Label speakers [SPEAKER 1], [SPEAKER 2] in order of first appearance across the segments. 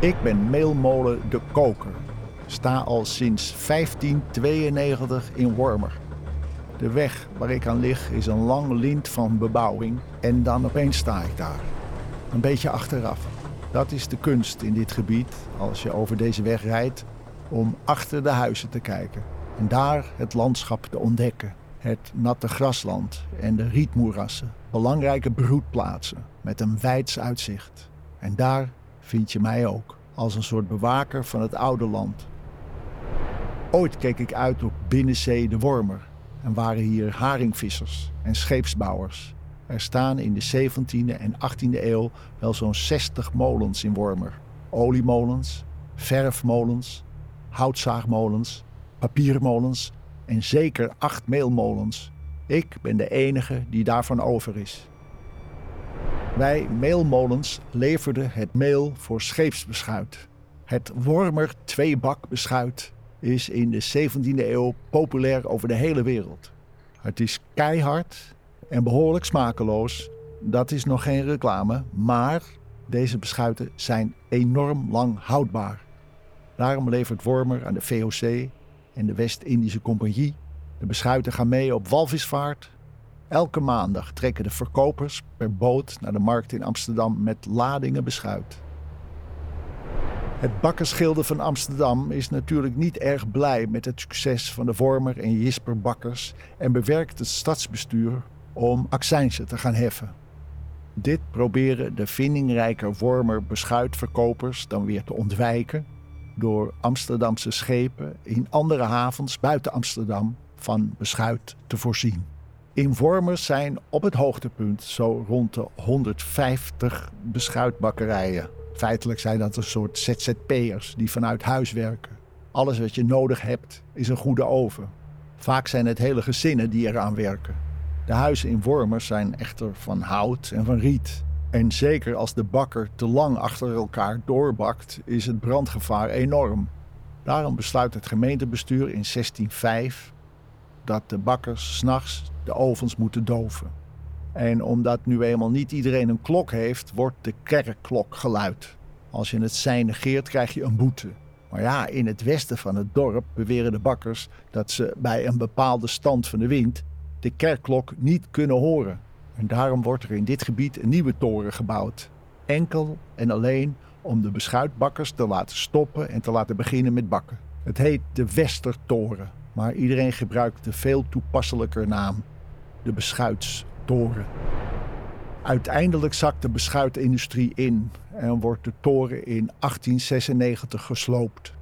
[SPEAKER 1] Ik ben Meelmolen de Koker. Sta al sinds 1592 in Wormer. De weg waar ik aan lig is een lang lint van bebouwing en dan opeens sta ik daar. Een beetje achteraf. Dat is de kunst in dit gebied als je over deze weg rijdt om achter de huizen te kijken en daar het landschap te ontdekken. Het natte grasland en de rietmoerassen, belangrijke broedplaatsen met een wijds uitzicht. En daar vind je mij ook, als een soort bewaker van het oude land. Ooit keek ik uit op Binnenzee de Wormer en waren hier haringvissers en scheepsbouwers. Er staan in de 17e en 18e eeuw wel zo'n 60 molens in Wormer. Oliemolens, verfmolens, houtzaagmolens, papiermolens en zeker acht meelmolens. Ik ben de enige die daarvan over is. Wij meelmolens leverden het meel voor scheepsbeschuit. Het Wormer tweebak beschuit is in de 17e eeuw populair over de hele wereld. Het is keihard en behoorlijk smakeloos. Dat is nog geen reclame, maar deze beschuiten zijn enorm lang houdbaar. Daarom levert Wormer aan de VOC en de West-Indische Compagnie. De beschuiten gaan mee op walvisvaart. Elke maandag trekken de verkopers per boot naar de markt in Amsterdam met ladingen beschuit. Het bakkersgilde van Amsterdam is natuurlijk niet erg blij met het succes van de Vormer en Jisper bakkers en bewerkt het stadsbestuur om accijnsen te gaan heffen. Dit proberen de vindingrijke Wormer beschuitverkopers dan weer te ontwijken door Amsterdamse schepen in andere havens buiten Amsterdam van beschuit te voorzien. Invormers zijn op het hoogtepunt zo rond de 150 beschuitbakkerijen. Feitelijk zijn dat een soort ZZP'ers die vanuit huis werken. Alles wat je nodig hebt is een goede oven. Vaak zijn het hele gezinnen die eraan werken. De huizen in Wormers zijn echter van hout en van riet. En zeker als de bakker te lang achter elkaar doorbakt, is het brandgevaar enorm. Daarom besluit het gemeentebestuur in 1605 dat de bakkers s'nachts de ovens moeten doven. En omdat nu eenmaal niet iedereen een klok heeft, wordt de kerkklok geluid. Als je het sein negeert, krijg je een boete. Maar ja, in het westen van het dorp beweren de bakkers dat ze bij een bepaalde stand van de wind de kerkklok niet kunnen horen. En daarom wordt er in dit gebied een nieuwe toren gebouwd. Enkel en alleen om de beschuitbakkers te laten stoppen en te laten beginnen met bakken. Het heet de Westertoren, maar iedereen gebruikt de veel toepasselijker naam: de Beschuitstoren. Uiteindelijk zakt de beschuitindustrie in en wordt de toren in 1896 gesloopt.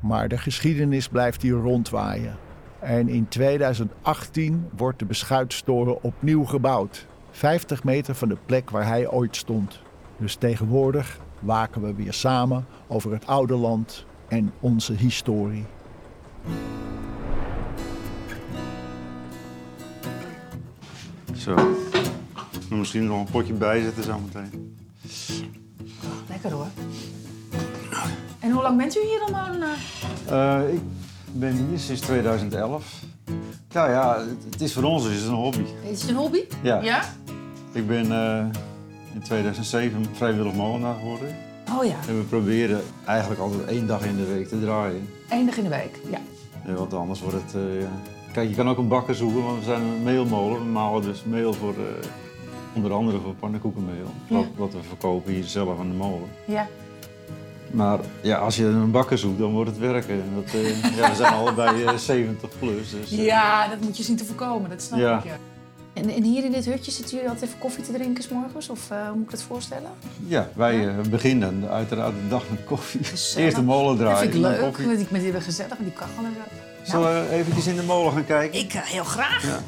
[SPEAKER 1] Maar de geschiedenis blijft hier rondwaaien. En in 2018 wordt de beschuitstoren opnieuw gebouwd. 50 meter van de plek waar hij ooit stond. Dus tegenwoordig waken we weer samen over het oude land en onze historie.
[SPEAKER 2] Zo. Er misschien nog een potje bijzetten zometeen.
[SPEAKER 3] Lekker hoor. En hoe lang bent u hier dan al? eh?
[SPEAKER 2] Eh ik ben hier sinds 2011. Nou ja, het, het is voor ons dus een hobby.
[SPEAKER 3] Is het een hobby?
[SPEAKER 2] Ja.
[SPEAKER 3] Ja?
[SPEAKER 2] Ik ben eh, in 2007 vrijwillig molenaar geworden.
[SPEAKER 3] Oh ja,
[SPEAKER 2] En we proberen eigenlijk altijd één dag in de week te draaien.
[SPEAKER 3] één dag in de week. Ja.
[SPEAKER 2] Eh, want anders wordt het... eh, ja. Kijk, je kan ook een bakker zoeken, want we zijn een meelmolen. We malen dus meel voor... eh, onder andere voor pannenkoekenmeel.
[SPEAKER 3] Ja.
[SPEAKER 2] Wat, wat we verkopen hier zelf aan de molen.
[SPEAKER 3] Ja.
[SPEAKER 2] Maar ja, als je een bakker zoekt, dan wordt het werken. En Dat, eh, ja, we zijn allebei eh, 70 plus. Dus, eh,
[SPEAKER 3] ja, dat moet je zien te voorkomen, dat snap
[SPEAKER 2] Ja.
[SPEAKER 3] ik. Ja. En, en hier in dit hutje zitten jullie altijd even koffie te drinken 's morgens? Of eh, hoe moet ik dat voorstellen?
[SPEAKER 2] ja, wij eh, beginnen uiteraard de dag met koffie.
[SPEAKER 3] Gezellig.
[SPEAKER 2] Eerst de molen
[SPEAKER 3] dat
[SPEAKER 2] draaien.
[SPEAKER 3] vind ik
[SPEAKER 2] dan
[SPEAKER 3] leuk,
[SPEAKER 2] koffie.
[SPEAKER 3] want ik ben hier gezellig met die kachel en zo.
[SPEAKER 2] Zullen we eventjes in de molen gaan kijken?
[SPEAKER 3] Ik eh, heel graag.
[SPEAKER 2] Ja.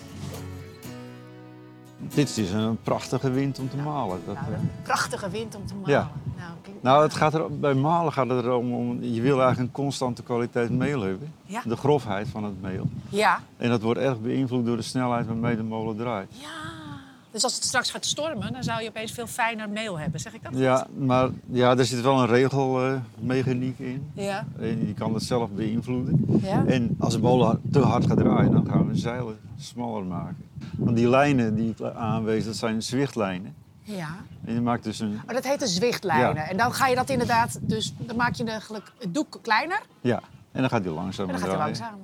[SPEAKER 2] Dit is dus een prachtige wind om te malen. Dat,
[SPEAKER 3] Nou,
[SPEAKER 2] eh.
[SPEAKER 3] een prachtige wind om te malen.
[SPEAKER 2] Ja.
[SPEAKER 3] Nou, ik-
[SPEAKER 2] Nou, het gaat er, bij malen gaat het erom, om, je wil eigenlijk een constante kwaliteit meel hebben.
[SPEAKER 3] Ja.
[SPEAKER 2] De grofheid van het meel.
[SPEAKER 3] ja.
[SPEAKER 2] En dat wordt erg beïnvloed door de snelheid waarmee de molen draait.
[SPEAKER 3] Ja. Dus als het straks gaat stormen, dan zou je opeens veel fijner meel hebben, zeg ik dat?
[SPEAKER 2] Ja, maar ja, er zit wel een regelmechaniek in.
[SPEAKER 3] Ja.
[SPEAKER 2] En je kan dat zelf beïnvloeden.
[SPEAKER 3] Ja.
[SPEAKER 2] En als de molen te hard gaat draaien, dan gaan we de zeilen smaller maken. Want die lijnen die ik aanwees, dat zijn zwichtlijnen.
[SPEAKER 3] Ja.
[SPEAKER 2] En je maakt dus een...
[SPEAKER 3] Maar dat heet de zwichtlijnen.
[SPEAKER 2] Ja.
[SPEAKER 3] En dan ga je dat inderdaad, dus dan maak je eigenlijk het doek kleiner
[SPEAKER 2] Ja, en dan gaat hij langzaam
[SPEAKER 3] en dan gaat hij langzamer.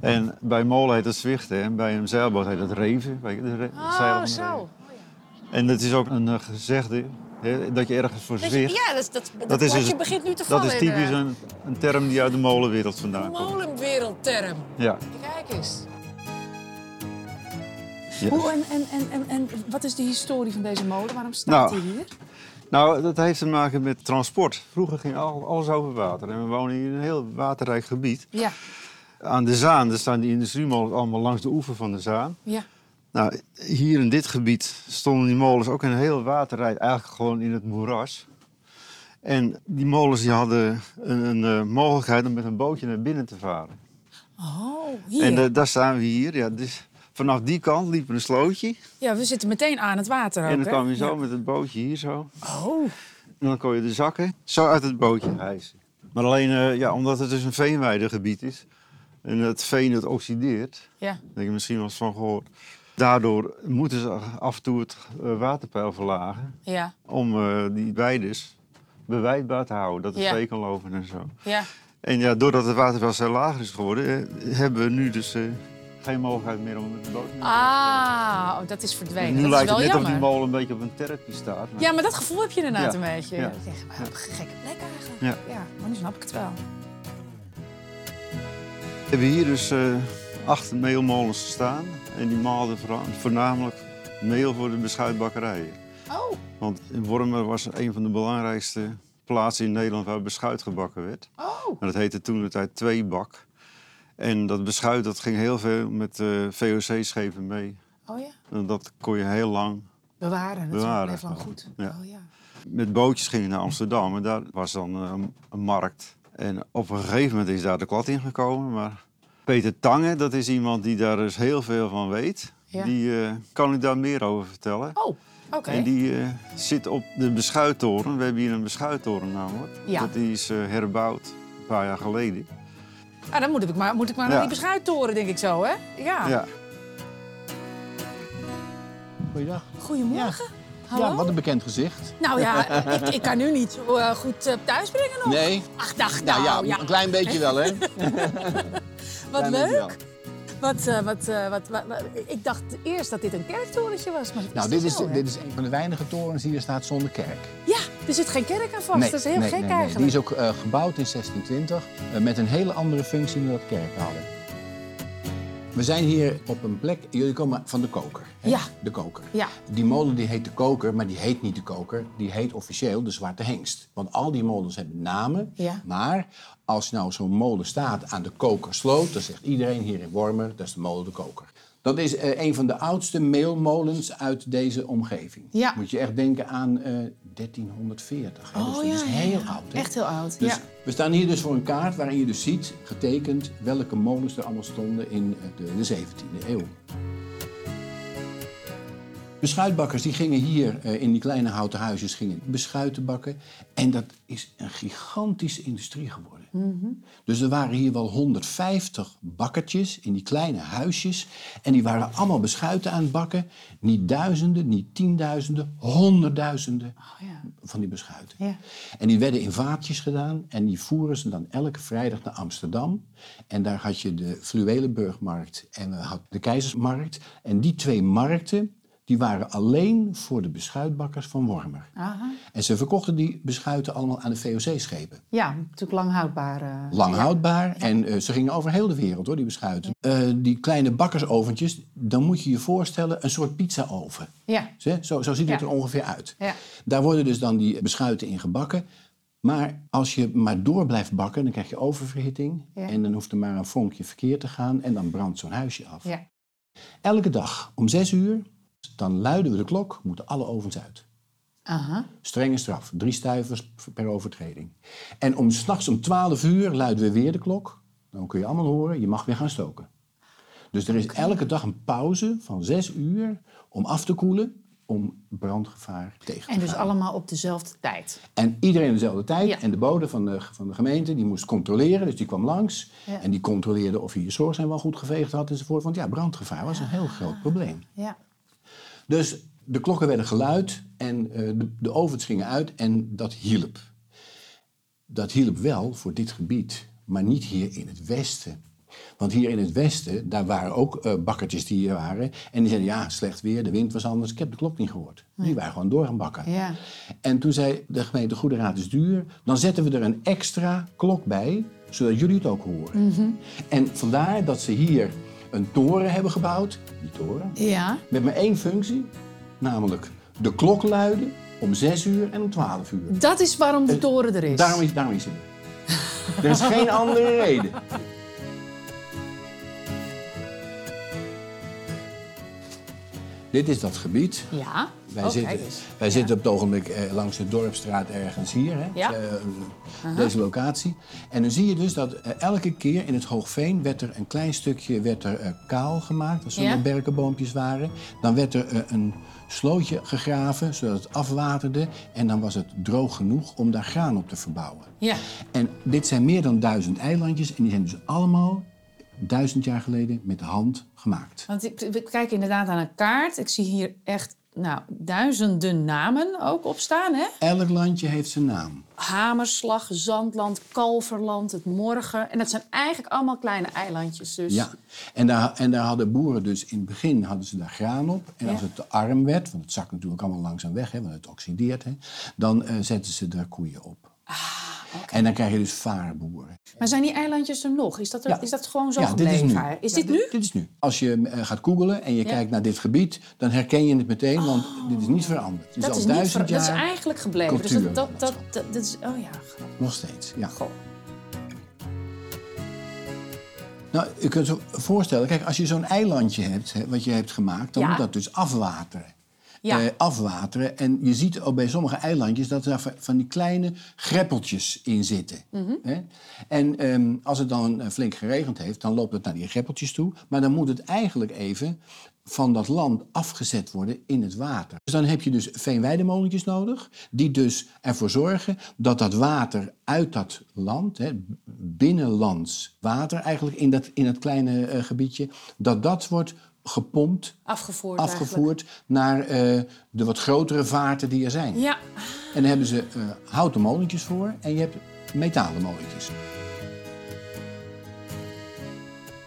[SPEAKER 2] En bij molen heet dat zwichten en bij een zeilboot heet dat reven. Weet je, de re- het zeilen van
[SPEAKER 3] Oh,
[SPEAKER 2] de
[SPEAKER 3] zo.
[SPEAKER 2] reven.
[SPEAKER 3] Oh, ja.
[SPEAKER 2] En dat is ook een eh, gezegde, hè, dat je ergens voor
[SPEAKER 3] Dat je-
[SPEAKER 2] zwicht.
[SPEAKER 3] ja, dat, is- dat, dat,
[SPEAKER 2] Dat is
[SPEAKER 3] kwartje
[SPEAKER 2] dus-
[SPEAKER 3] begint nu te vallen.
[SPEAKER 2] Dat is typisch een, een term die uit de molenwereld vandaan
[SPEAKER 3] een
[SPEAKER 2] komt.
[SPEAKER 3] molenwereldterm.
[SPEAKER 2] Ja.
[SPEAKER 3] Kijk eens.
[SPEAKER 2] ja.
[SPEAKER 3] Hoe, en, en, en, en, en wat is de historie van deze molen? Waarom staat
[SPEAKER 2] Nou.
[SPEAKER 3] hij hier?
[SPEAKER 2] Nou, dat heeft te maken met transport. Vroeger ging al, alles over water. En we wonen hier in een heel waterrijk gebied.
[SPEAKER 3] Ja,
[SPEAKER 2] Aan de Zaan, daar staan die industriemolens allemaal langs de oever van de Zaan.
[SPEAKER 3] ja.
[SPEAKER 2] Nou, hier in dit gebied stonden die molens ook in een heel waterrijk, eigenlijk gewoon in het moeras. En die molens die hadden een, een eh, mogelijkheid om met een bootje naar binnen te varen.
[SPEAKER 3] Oh, hier.
[SPEAKER 2] En eh, daar staan we hier. Ja, dus vanaf die kant liep er een slootje.
[SPEAKER 3] Ja, we zitten meteen aan het water ook,
[SPEAKER 2] en dan
[SPEAKER 3] hè?
[SPEAKER 2] kwam je zo
[SPEAKER 3] Ja.
[SPEAKER 2] met het bootje hier zo.
[SPEAKER 3] Oh,
[SPEAKER 2] En dan kon je de zakken zo uit het bootje hijsen. Maar alleen eh, ja, omdat het dus een veenweidegebied is en het veen het oxideert,
[SPEAKER 3] ja.
[SPEAKER 2] daar heb je misschien wel eens van gehoord. Daardoor moeten ze af en toe het eh, waterpeil verlagen
[SPEAKER 3] Ja,
[SPEAKER 2] om eh, die weides bewijdbaar te houden, dat het
[SPEAKER 3] Ja.
[SPEAKER 2] vee kan lopen en zo.
[SPEAKER 3] ja.
[SPEAKER 2] En ja, doordat het waterpeil zo lager is geworden, eh, hebben we nu dus eh, geen mogelijkheid meer om het boot te
[SPEAKER 3] Ah, oh, dat is verdwenen.
[SPEAKER 2] Nu
[SPEAKER 3] dat
[SPEAKER 2] lijkt
[SPEAKER 3] is
[SPEAKER 2] het
[SPEAKER 3] wel
[SPEAKER 2] net of
[SPEAKER 3] jammer.
[SPEAKER 2] die molen een beetje op een terpje staat. maar-
[SPEAKER 3] Ja, maar dat gevoel heb je inderdaad
[SPEAKER 2] Ja,
[SPEAKER 3] een beetje.
[SPEAKER 2] ja.
[SPEAKER 3] Ik denk, maar op een gekke plek eigenlijk.
[SPEAKER 2] Ja.
[SPEAKER 3] ja, maar nu snap ik het wel.
[SPEAKER 2] We hebben hier dus eh, acht meelmolens staan. En die maalden voorna- voornamelijk meel voor de beschuitbakkerijen.
[SPEAKER 3] Oh,
[SPEAKER 2] Want in Wormer was een van de belangrijkste plaatsen in Nederland waar beschuit gebakken werd.
[SPEAKER 3] oh.
[SPEAKER 2] En dat heette toen de tijd tweebak. En dat beschuit dat ging heel veel met eh, VOC-schepen mee.
[SPEAKER 3] Oh ja.
[SPEAKER 2] En dat kon je heel lang.
[SPEAKER 3] Bewaren, het
[SPEAKER 2] Bewaren.
[SPEAKER 3] blijft lang goed.
[SPEAKER 2] Ja.
[SPEAKER 3] Oh ja.
[SPEAKER 2] Met bootjes ging je naar Amsterdam en daar was dan eh, een, een markt. En op een gegeven moment is daar de klad in gekomen. Maar Peter Tange, dat is iemand die daar dus heel veel van weet.
[SPEAKER 3] Ja.
[SPEAKER 2] Die eh, kan u daar meer over vertellen.
[SPEAKER 3] Oh, oké.
[SPEAKER 2] En die eh, zit op de beschuittoren. We hebben hier een beschuittoren namelijk.
[SPEAKER 3] Ja.
[SPEAKER 2] Dat die is eh, herbouwd een paar jaar geleden.
[SPEAKER 3] Ah, dan moet ik maar, moet ik maar
[SPEAKER 2] Ja.
[SPEAKER 3] naar die beschuittoren, denk ik zo, hè? Ja.
[SPEAKER 2] Ja.
[SPEAKER 4] Goeiedag.
[SPEAKER 3] Goedemorgen. Hallo.
[SPEAKER 4] Ja, wat een bekend gezicht.
[SPEAKER 3] Nou ja, ik, ik kan u niet eh, goed eh, thuisbrengen nog.
[SPEAKER 4] Nee?
[SPEAKER 3] Ach, dag,
[SPEAKER 4] Nou
[SPEAKER 3] nou,
[SPEAKER 4] ja,
[SPEAKER 3] ja.
[SPEAKER 4] een klein beetje wel, hè?
[SPEAKER 3] Wat
[SPEAKER 4] Klein beetje
[SPEAKER 3] leuk.
[SPEAKER 4] wel.
[SPEAKER 3] Wat, eh, wat, eh, wat, wat, wat- ik dacht eerst dat dit een kerktorentje was, maar dat
[SPEAKER 4] Nou,
[SPEAKER 3] dat
[SPEAKER 4] dit is,
[SPEAKER 3] wel, hè?
[SPEAKER 4] dit is een van de weinige torens die hier staat zonder kerk.
[SPEAKER 3] Ja, er zit geen kerk aan vast. dat Oh, is heel
[SPEAKER 4] nee,
[SPEAKER 3] gek
[SPEAKER 4] nee, nee.
[SPEAKER 3] eigenlijk.
[SPEAKER 4] Die is ook eh, gebouwd in 1620 eh, met een hele andere functie dan dat kerken hadden. We zijn hier op een plek, jullie komen van de koker. hè?
[SPEAKER 3] Ja.
[SPEAKER 4] De koker.
[SPEAKER 3] Ja.
[SPEAKER 4] Die molen die heet de koker, maar die heet niet de koker. Die heet officieel de Zwarte Hengst. Want al die molens hebben namen.
[SPEAKER 3] Ja.
[SPEAKER 4] Maar als nou zo'n molen staat aan de kokersloot, dan zegt iedereen hier in Wormer, dat is de molen de koker. Dat is eh, een van de oudste meelmolens uit deze omgeving.
[SPEAKER 3] Ja.
[SPEAKER 4] Moet je echt denken aan eh, 1340. hè?
[SPEAKER 3] Oh,
[SPEAKER 4] dus dat
[SPEAKER 3] ja,
[SPEAKER 4] is
[SPEAKER 3] ja,
[SPEAKER 4] heel
[SPEAKER 3] ja.
[SPEAKER 4] oud. hè?
[SPEAKER 3] Echt heel oud,
[SPEAKER 4] Dus
[SPEAKER 3] ja.
[SPEAKER 4] We staan hier dus voor een kaart waarin je dus ziet, getekend, welke molens er allemaal stonden in eh, de, de 17e eeuw. Beschuitbakkers die gingen hier eh, in die kleine houten huisjes gingen beschuiten bakken. En dat is een gigantische industrie geworden.
[SPEAKER 3] Mhm.
[SPEAKER 4] Dus er waren hier wel 150 bakkertjes in die kleine huisjes. En die waren allemaal beschuiten aan het bakken. Niet duizenden, niet tienduizenden, honderdduizenden
[SPEAKER 3] Oh, ja.
[SPEAKER 4] van die beschuiten.
[SPEAKER 3] Ja.
[SPEAKER 4] En die werden in vaatjes gedaan en die voeren ze dan elke vrijdag naar Amsterdam. En daar had je de Fluwelenburgmarkt en eh, had de Keizersmarkt. En die twee markten, die waren alleen voor de beschuitbakkers van Wormer.
[SPEAKER 3] Aha.
[SPEAKER 4] En ze verkochten die beschuiten allemaal aan de VOC-schepen.
[SPEAKER 3] Ja, natuurlijk lang houdbaar. eh.
[SPEAKER 4] Lang houdbaar en eh, ze gingen over heel de wereld hoor, die beschuiten. Eh, die kleine bakkersoventjes, dan moet je je voorstellen een soort pizzaoven.
[SPEAKER 3] Ja.
[SPEAKER 4] Zo, zo, zo ziet het
[SPEAKER 3] Ja.
[SPEAKER 4] er ongeveer uit.
[SPEAKER 3] Ja.
[SPEAKER 4] Daar worden dus dan die beschuiten in gebakken. Maar als je maar door blijft bakken, dan krijg je oververhitting.
[SPEAKER 3] Ja.
[SPEAKER 4] En dan hoeft er maar een vonkje verkeerd te gaan en dan brandt zo'n huisje af.
[SPEAKER 3] ja.
[SPEAKER 4] Elke dag om zes uur, dan luiden we de klok, moeten alle ovens uit.
[SPEAKER 3] Aha.
[SPEAKER 4] Strenge straf, drie stuivers per overtreding. En om s'nachts om 12 uur luiden we weer de klok. Dan kun je allemaal horen, je mag weer gaan stoken. Dus er is elke dag een pauze van 6 uur om af te koelen, om brandgevaar tegen te
[SPEAKER 3] En dus
[SPEAKER 4] gaan.
[SPEAKER 3] allemaal op dezelfde tijd.
[SPEAKER 4] En iedereen dezelfde tijd.
[SPEAKER 3] Ja.
[SPEAKER 4] En de bode van de, van de gemeente die moest controleren, dus die kwam langs.
[SPEAKER 3] Ja.
[SPEAKER 4] En die controleerde of hij je zorgzaam wel goed geveegd had enzovoort. Want ja, brandgevaar was een heel groot probleem.
[SPEAKER 3] Ja.
[SPEAKER 4] Dus de klokken werden geluid en eh, de, de ovens gingen uit en dat hielp. Dat hielp wel voor dit gebied, maar niet hier in het westen. Want hier in het westen, daar waren ook eh, bakkertjes die hier waren. En die zeiden, ja, slecht weer, de wind was anders. Ik heb de klok niet gehoord. Die waren gewoon door gaan bakken.
[SPEAKER 3] Ja.
[SPEAKER 4] En toen zei de gemeente, goede raad is duur. Dan zetten we er een extra klok bij, zodat jullie het ook horen. En vandaar dat ze hier een toren hebben gebouwd. Die toren.
[SPEAKER 3] Ja.
[SPEAKER 4] Met maar één functie, namelijk de klok luiden om 6 uur en om 12 uur.
[SPEAKER 3] Dat is waarom de toren er is.
[SPEAKER 4] Daarom is, daarom is het. er. Er is geen andere reden. Dit is dat gebied.
[SPEAKER 3] Ja.
[SPEAKER 4] Wij,
[SPEAKER 3] Oh,
[SPEAKER 4] zitten,
[SPEAKER 3] kijk eens.
[SPEAKER 4] wij zitten op het ogenblik eh, langs de Dorpstraat ergens hier, hè?
[SPEAKER 3] Ja.
[SPEAKER 4] Eh, deze locatie. En dan zie je dus dat eh, elke keer in het Hoogveen werd er een klein stukje werd er, eh, kaal gemaakt, als er
[SPEAKER 3] Ja.
[SPEAKER 4] nog berkenboompjes waren. Dan werd er eh, een slootje gegraven, zodat het afwaterde. En dan was het droog genoeg om daar graan op te verbouwen.
[SPEAKER 3] Ja.
[SPEAKER 4] En dit zijn meer dan duizend eilandjes en die zijn dus allemaal duizend jaar geleden met de hand gemaakt.
[SPEAKER 3] Want ik, ik kijk inderdaad aan een kaart. Ik zie hier echt nou, duizenden namen ook op staan. Hè?
[SPEAKER 4] Elk landje heeft zijn naam.
[SPEAKER 3] Hamerslag, Zandland, Kalverland, het Morgen. En dat zijn eigenlijk allemaal kleine eilandjes. Dus.
[SPEAKER 4] Ja, en daar, en daar hadden boeren dus in het begin hadden ze daar graan op. En
[SPEAKER 3] Ja.
[SPEAKER 4] als het te arm werd, want het zakt natuurlijk allemaal langzaam weg, hè, want het oxideert, hè, dan eh, zetten ze daar koeien op.
[SPEAKER 3] Ah,
[SPEAKER 4] En dan krijg je dus vaarboeren.
[SPEAKER 3] Maar zijn die eilandjes er nog? Is dat, er,
[SPEAKER 4] Ja.
[SPEAKER 3] is dat gewoon zo
[SPEAKER 4] Ja, dit
[SPEAKER 3] gebleven?
[SPEAKER 4] is nu.
[SPEAKER 3] eigenlijk? Is
[SPEAKER 4] Ja,
[SPEAKER 3] dit nu?
[SPEAKER 4] Dit is nu. Als je eh, gaat googelen en je
[SPEAKER 3] Ja. Oh.
[SPEAKER 4] kijkt naar dit gebied, dan herken je het meteen, want dit is niet veranderd. Het is
[SPEAKER 3] Dat
[SPEAKER 4] al
[SPEAKER 3] is, niet
[SPEAKER 4] duizend
[SPEAKER 3] ver-
[SPEAKER 4] jaar
[SPEAKER 3] dat is eigenlijk gebleven. dus
[SPEAKER 4] cultuur.
[SPEAKER 3] dat, dat, dat, dat, dat is. Oh ja, grappig.
[SPEAKER 4] nog steeds. Ja.
[SPEAKER 3] Goh.
[SPEAKER 4] Nou, je kunt je voorstellen, kijk, als je zo'n eilandje hebt, hè, wat je hebt gemaakt, dan
[SPEAKER 3] Ja.
[SPEAKER 4] moet dat dus afwateren.
[SPEAKER 3] Ja.
[SPEAKER 4] Eh, afwateren. En je ziet ook bij sommige eilandjes dat daar va- van die kleine greppeltjes in zitten. Hè? En ehm, als het dan eh, flink geregend heeft, dan loopt het naar die greppeltjes toe. Maar dan moet het eigenlijk even van dat land afgezet worden in het water. Dus dan heb je dus veenweidemolentjes nodig, die dus ervoor zorgen dat dat water uit dat land, hè, binnenlands water eigenlijk in dat, in dat kleine eh, gebiedje, dat dat wordt gepompt
[SPEAKER 3] Afgevoerd. eigenlijk.
[SPEAKER 4] afgevoerd naar eh, de wat grotere vaarten die er zijn.
[SPEAKER 3] Ja.
[SPEAKER 4] En daar hebben ze eh, houten molentjes voor en je hebt metalen molentjes.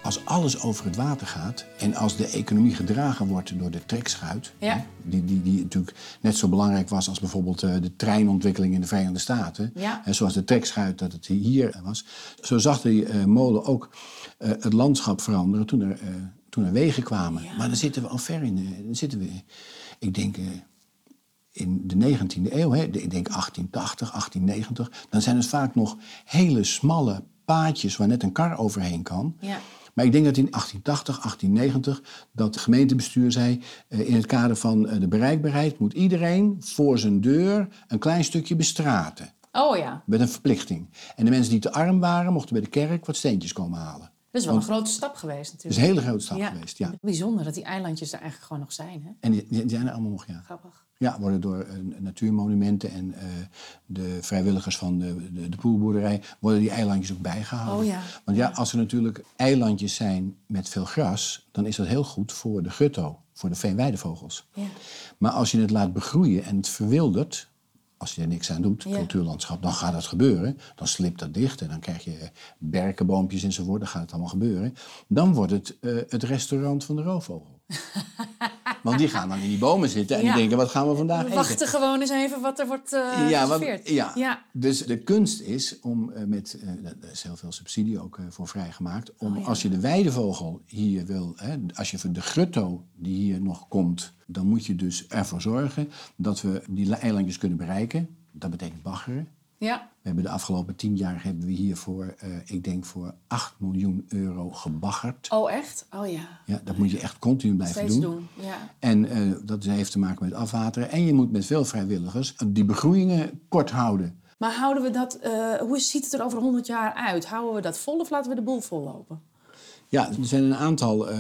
[SPEAKER 4] Als alles over het water gaat en als de economie gedragen wordt door de trekschuit,
[SPEAKER 3] Ja.
[SPEAKER 4] hè, die, die, die natuurlijk net zo belangrijk was als bijvoorbeeld eh, de treinontwikkeling in de Verenigde Staten,
[SPEAKER 3] Ja.
[SPEAKER 4] hè, zoals de trekschuit dat het hier was, zo zag die eh, molen ook eh, het landschap veranderen toen er, eh, toen er wegen kwamen. Maar dan zitten we al ver in. eh, dan zitten we, ik denk, eh, in de 19e eeuw, hè, ik denk 1880, 1890, dan zijn het vaak nog hele smalle paadjes waar net een kar overheen kan.
[SPEAKER 3] Ja.
[SPEAKER 4] Maar ik denk dat in 1880, 1890 dat het gemeentebestuur zei eh, in het kader van eh, de bereikbaarheid moet iedereen voor zijn deur een klein stukje bestraten
[SPEAKER 3] Oh ja.
[SPEAKER 4] met een verplichting. En de mensen die te arm waren mochten bij de kerk wat steentjes komen halen.
[SPEAKER 3] Dat is wel een grote stap geweest
[SPEAKER 4] Dat is
[SPEAKER 3] natuurlijk.
[SPEAKER 4] een hele grote stap geweest, ja.
[SPEAKER 3] Bijzonder dat die eilandjes er eigenlijk gewoon nog zijn. Hè?
[SPEAKER 4] En die, die zijn er allemaal nog, ja.
[SPEAKER 3] Grappig.
[SPEAKER 4] Ja, worden door eh, natuurmonumenten en eh, de vrijwilligers van de, de, de poolboerderij... worden die eilandjes ook bijgehouden.
[SPEAKER 3] Oh ja.
[SPEAKER 4] Want ja, als er natuurlijk eilandjes zijn met veel gras... dan is dat heel goed voor de gutto, voor de veenweidevogels.
[SPEAKER 3] Ja.
[SPEAKER 4] Maar als je het laat begroeien en het verwildert... als je er niks aan doet,
[SPEAKER 3] Ja.
[SPEAKER 4] cultuurlandschap, dan gaat dat gebeuren. Dan slipt dat dicht en dan krijg je berkenboompjes enzovoort. Dan gaat het allemaal gebeuren. Dan wordt het eh, het restaurant van de roofvogel. Want die gaan dan in die bomen zitten en
[SPEAKER 3] Ja.
[SPEAKER 4] die denken, wat gaan we vandaag
[SPEAKER 3] We
[SPEAKER 4] eten?
[SPEAKER 3] wachten gewoon eens even wat er wordt eh
[SPEAKER 4] ja, want-
[SPEAKER 3] geserveerd.
[SPEAKER 4] ja.
[SPEAKER 3] ja.
[SPEAKER 4] dus de kunst is om eh, met, eh, daar is heel veel subsidie ook eh, voor vrijgemaakt,
[SPEAKER 3] Oh
[SPEAKER 4] om als je de weidevogel hier wil, hè, als je voor de grutto die hier nog komt, dan moet je dus ervoor zorgen dat we die la- eilandjes kunnen bereiken. Dat betekent baggeren.
[SPEAKER 3] Ja.
[SPEAKER 4] We hebben de afgelopen tien jaar hebben we hiervoor, eh ik denk voor 8 miljoen euro gebaggerd.
[SPEAKER 3] Oh echt? Oh ja.
[SPEAKER 4] Ja, dat moet je echt continu blijven
[SPEAKER 3] Steeds doen. Ja.
[SPEAKER 4] en eh, dat heeft te maken met afwateren. En je moet met veel vrijwilligers die begroeiingen kort houden.
[SPEAKER 3] Maar houden we dat, eh, hoe ziet het er over 100 jaar uit? Houden we dat vol of laten we de boel vollopen?
[SPEAKER 4] Ja, er zijn een aantal eh,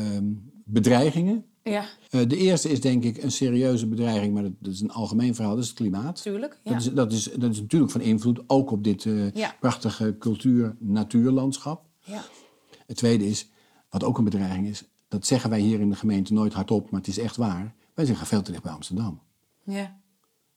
[SPEAKER 4] bedreigingen.
[SPEAKER 3] Ja,
[SPEAKER 4] Eh, de eerste is denk ik een serieuze bedreiging, maar dat, dat is een algemeen verhaal, dat is het klimaat.
[SPEAKER 3] natuurlijk. Ja.
[SPEAKER 4] Dat, is, dat, is, dat is natuurlijk van invloed ook op dit eh,
[SPEAKER 3] Ja.
[SPEAKER 4] prachtige cultuur-natuurlandschap.
[SPEAKER 3] ja.
[SPEAKER 4] Het tweede is, wat ook een bedreiging is, dat zeggen wij hier in de gemeente nooit hardop, maar het is echt waar. Wij zijn veel te dicht bij Amsterdam.
[SPEAKER 3] Ja.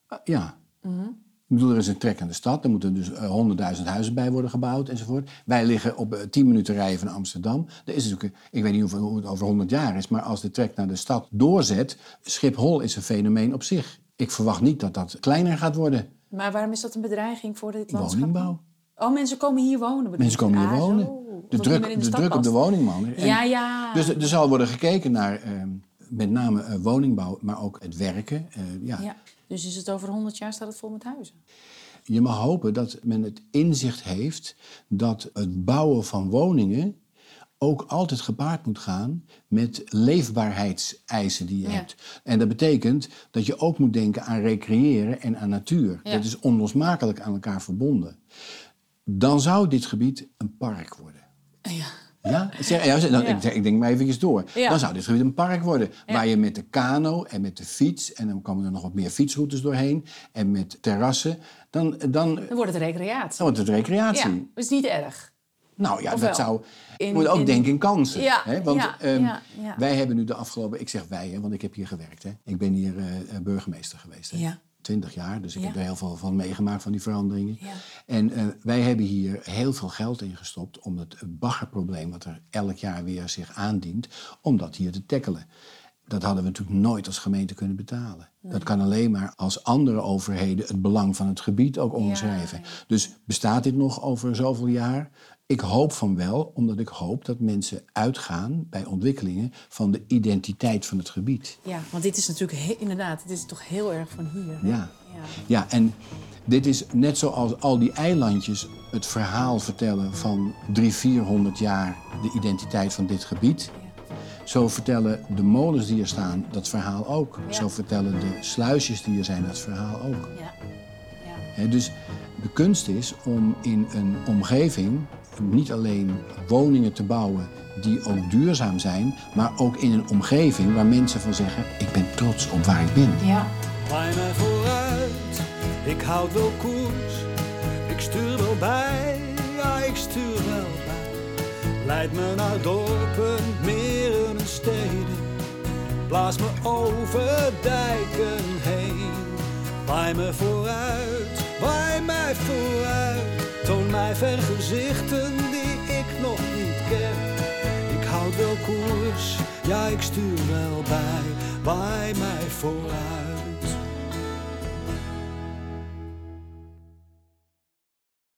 [SPEAKER 4] Ah, ja.
[SPEAKER 3] Mhm.
[SPEAKER 4] Ik bedoel, er is een trek aan de stad. Er moeten dus honderdduizend huizen bij worden gebouwd enzovoort. Wij liggen op eh, tien minuten rijden van Amsterdam. Er is natuurlijk, een- ik weet niet hoeveel, hoe het over 100 jaar is... maar als de trek naar de stad doorzet... Schiphol is een fenomeen op zich. Ik verwacht niet dat dat kleiner gaat worden.
[SPEAKER 3] Maar waarom is dat een bedreiging voor dit landschap?
[SPEAKER 4] Woningbouw.
[SPEAKER 3] Oh, mensen komen hier wonen. bedoel
[SPEAKER 4] Mensen
[SPEAKER 3] je?
[SPEAKER 4] komen
[SPEAKER 3] Ah,
[SPEAKER 4] hier
[SPEAKER 3] zo.
[SPEAKER 4] wonen.
[SPEAKER 3] Omdat
[SPEAKER 4] De
[SPEAKER 3] het niet meer
[SPEAKER 4] druk,
[SPEAKER 3] in
[SPEAKER 4] de
[SPEAKER 3] stad
[SPEAKER 4] druk op de
[SPEAKER 3] past.
[SPEAKER 4] woningman. En-
[SPEAKER 3] Ja, ja.
[SPEAKER 4] Dus er er zal worden gekeken naar eh, met name eh, woningbouw, maar ook het werken. eh, ja.
[SPEAKER 3] ja. Dus is het over 100 jaar staat het vol met huizen.
[SPEAKER 4] Je mag hopen dat men het inzicht heeft dat het bouwen van woningen ook altijd gepaard moet gaan met leefbaarheidseisen die je
[SPEAKER 3] Ja.
[SPEAKER 4] hebt. En dat betekent dat je ook moet denken aan recreëren en aan natuur.
[SPEAKER 3] Ja.
[SPEAKER 4] Dat is onlosmakelijk aan elkaar verbonden. Dan zou dit gebied een park worden.
[SPEAKER 3] Ja.
[SPEAKER 4] Ja, zeg, ja, zeg- dan-
[SPEAKER 3] Ja.
[SPEAKER 4] Ik, zeg- ik denk maar eventjes door.
[SPEAKER 3] Ja.
[SPEAKER 4] Dan zou dit gebied een park worden. Waar je met de kano en met de fiets... en dan komen er nog wat meer fietsroutes doorheen... en met terrassen, dan, dan, dan
[SPEAKER 3] Dan wordt het recreatie.
[SPEAKER 4] wordt het recreatie.
[SPEAKER 3] ja, dat is niet erg.
[SPEAKER 4] Nou ja,
[SPEAKER 3] Of wel?
[SPEAKER 4] dat zou...
[SPEAKER 3] In-
[SPEAKER 4] je moet ook
[SPEAKER 3] in-
[SPEAKER 4] denken in kansen.
[SPEAKER 3] Ja,
[SPEAKER 4] hè? Want
[SPEAKER 3] ja,
[SPEAKER 4] ehm,
[SPEAKER 3] ja, ja.
[SPEAKER 4] wij hebben nu de afgelopen... Ik zeg wij, hè, want ik heb hier gewerkt. Hè. Ik ben hier eh, eh, burgemeester geweest. Hè.
[SPEAKER 3] Ja.
[SPEAKER 4] 20 jaar, dus ik
[SPEAKER 3] Ja.
[SPEAKER 4] heb er heel veel van meegemaakt, van die veranderingen.
[SPEAKER 3] Ja.
[SPEAKER 4] En eh, wij hebben hier heel veel geld in gestopt om het baggerprobleem, wat er elk jaar weer zich aandient, om dat hier te tackelen. Dat hadden we natuurlijk nooit als gemeente kunnen betalen. Dat kan alleen maar als andere overheden het belang van het gebied ook onderschrijven. Dus bestaat dit nog over zoveel jaar? Ik hoop van wel, omdat ik hoop dat mensen uitgaan bij ontwikkelingen van de identiteit van het gebied.
[SPEAKER 3] Ja, want dit is natuurlijk he- inderdaad, dit is toch heel erg van hier. hè?
[SPEAKER 4] Ja.
[SPEAKER 3] Ja.
[SPEAKER 4] ja, en dit is net zoals al die eilandjes het verhaal vertellen van 300, 400 jaar de identiteit van dit gebied. Zo vertellen de molens die er staan dat verhaal ook.
[SPEAKER 3] Ja.
[SPEAKER 4] Zo vertellen de sluisjes die er zijn dat verhaal ook.
[SPEAKER 3] Ja. ja.
[SPEAKER 4] Hè, dus de kunst is om in een omgeving niet alleen woningen te bouwen die ook duurzaam zijn, maar ook in een omgeving waar mensen van zeggen: Ik ben trots op waar ik ben.
[SPEAKER 3] ja.
[SPEAKER 5] Draai mij vooruit, ik houd wel koers. Ik stuur wel bij, ja ik stuur wel bij. Leid me naar dorpen, meren en steden. Blaas me over dijken heen. Waai me vooruit, waai mij vooruit. Toon mij vergezichten die ik nog niet ken. Ik houd wel koers, ja ik stuur wel bij. Waai mij vooruit.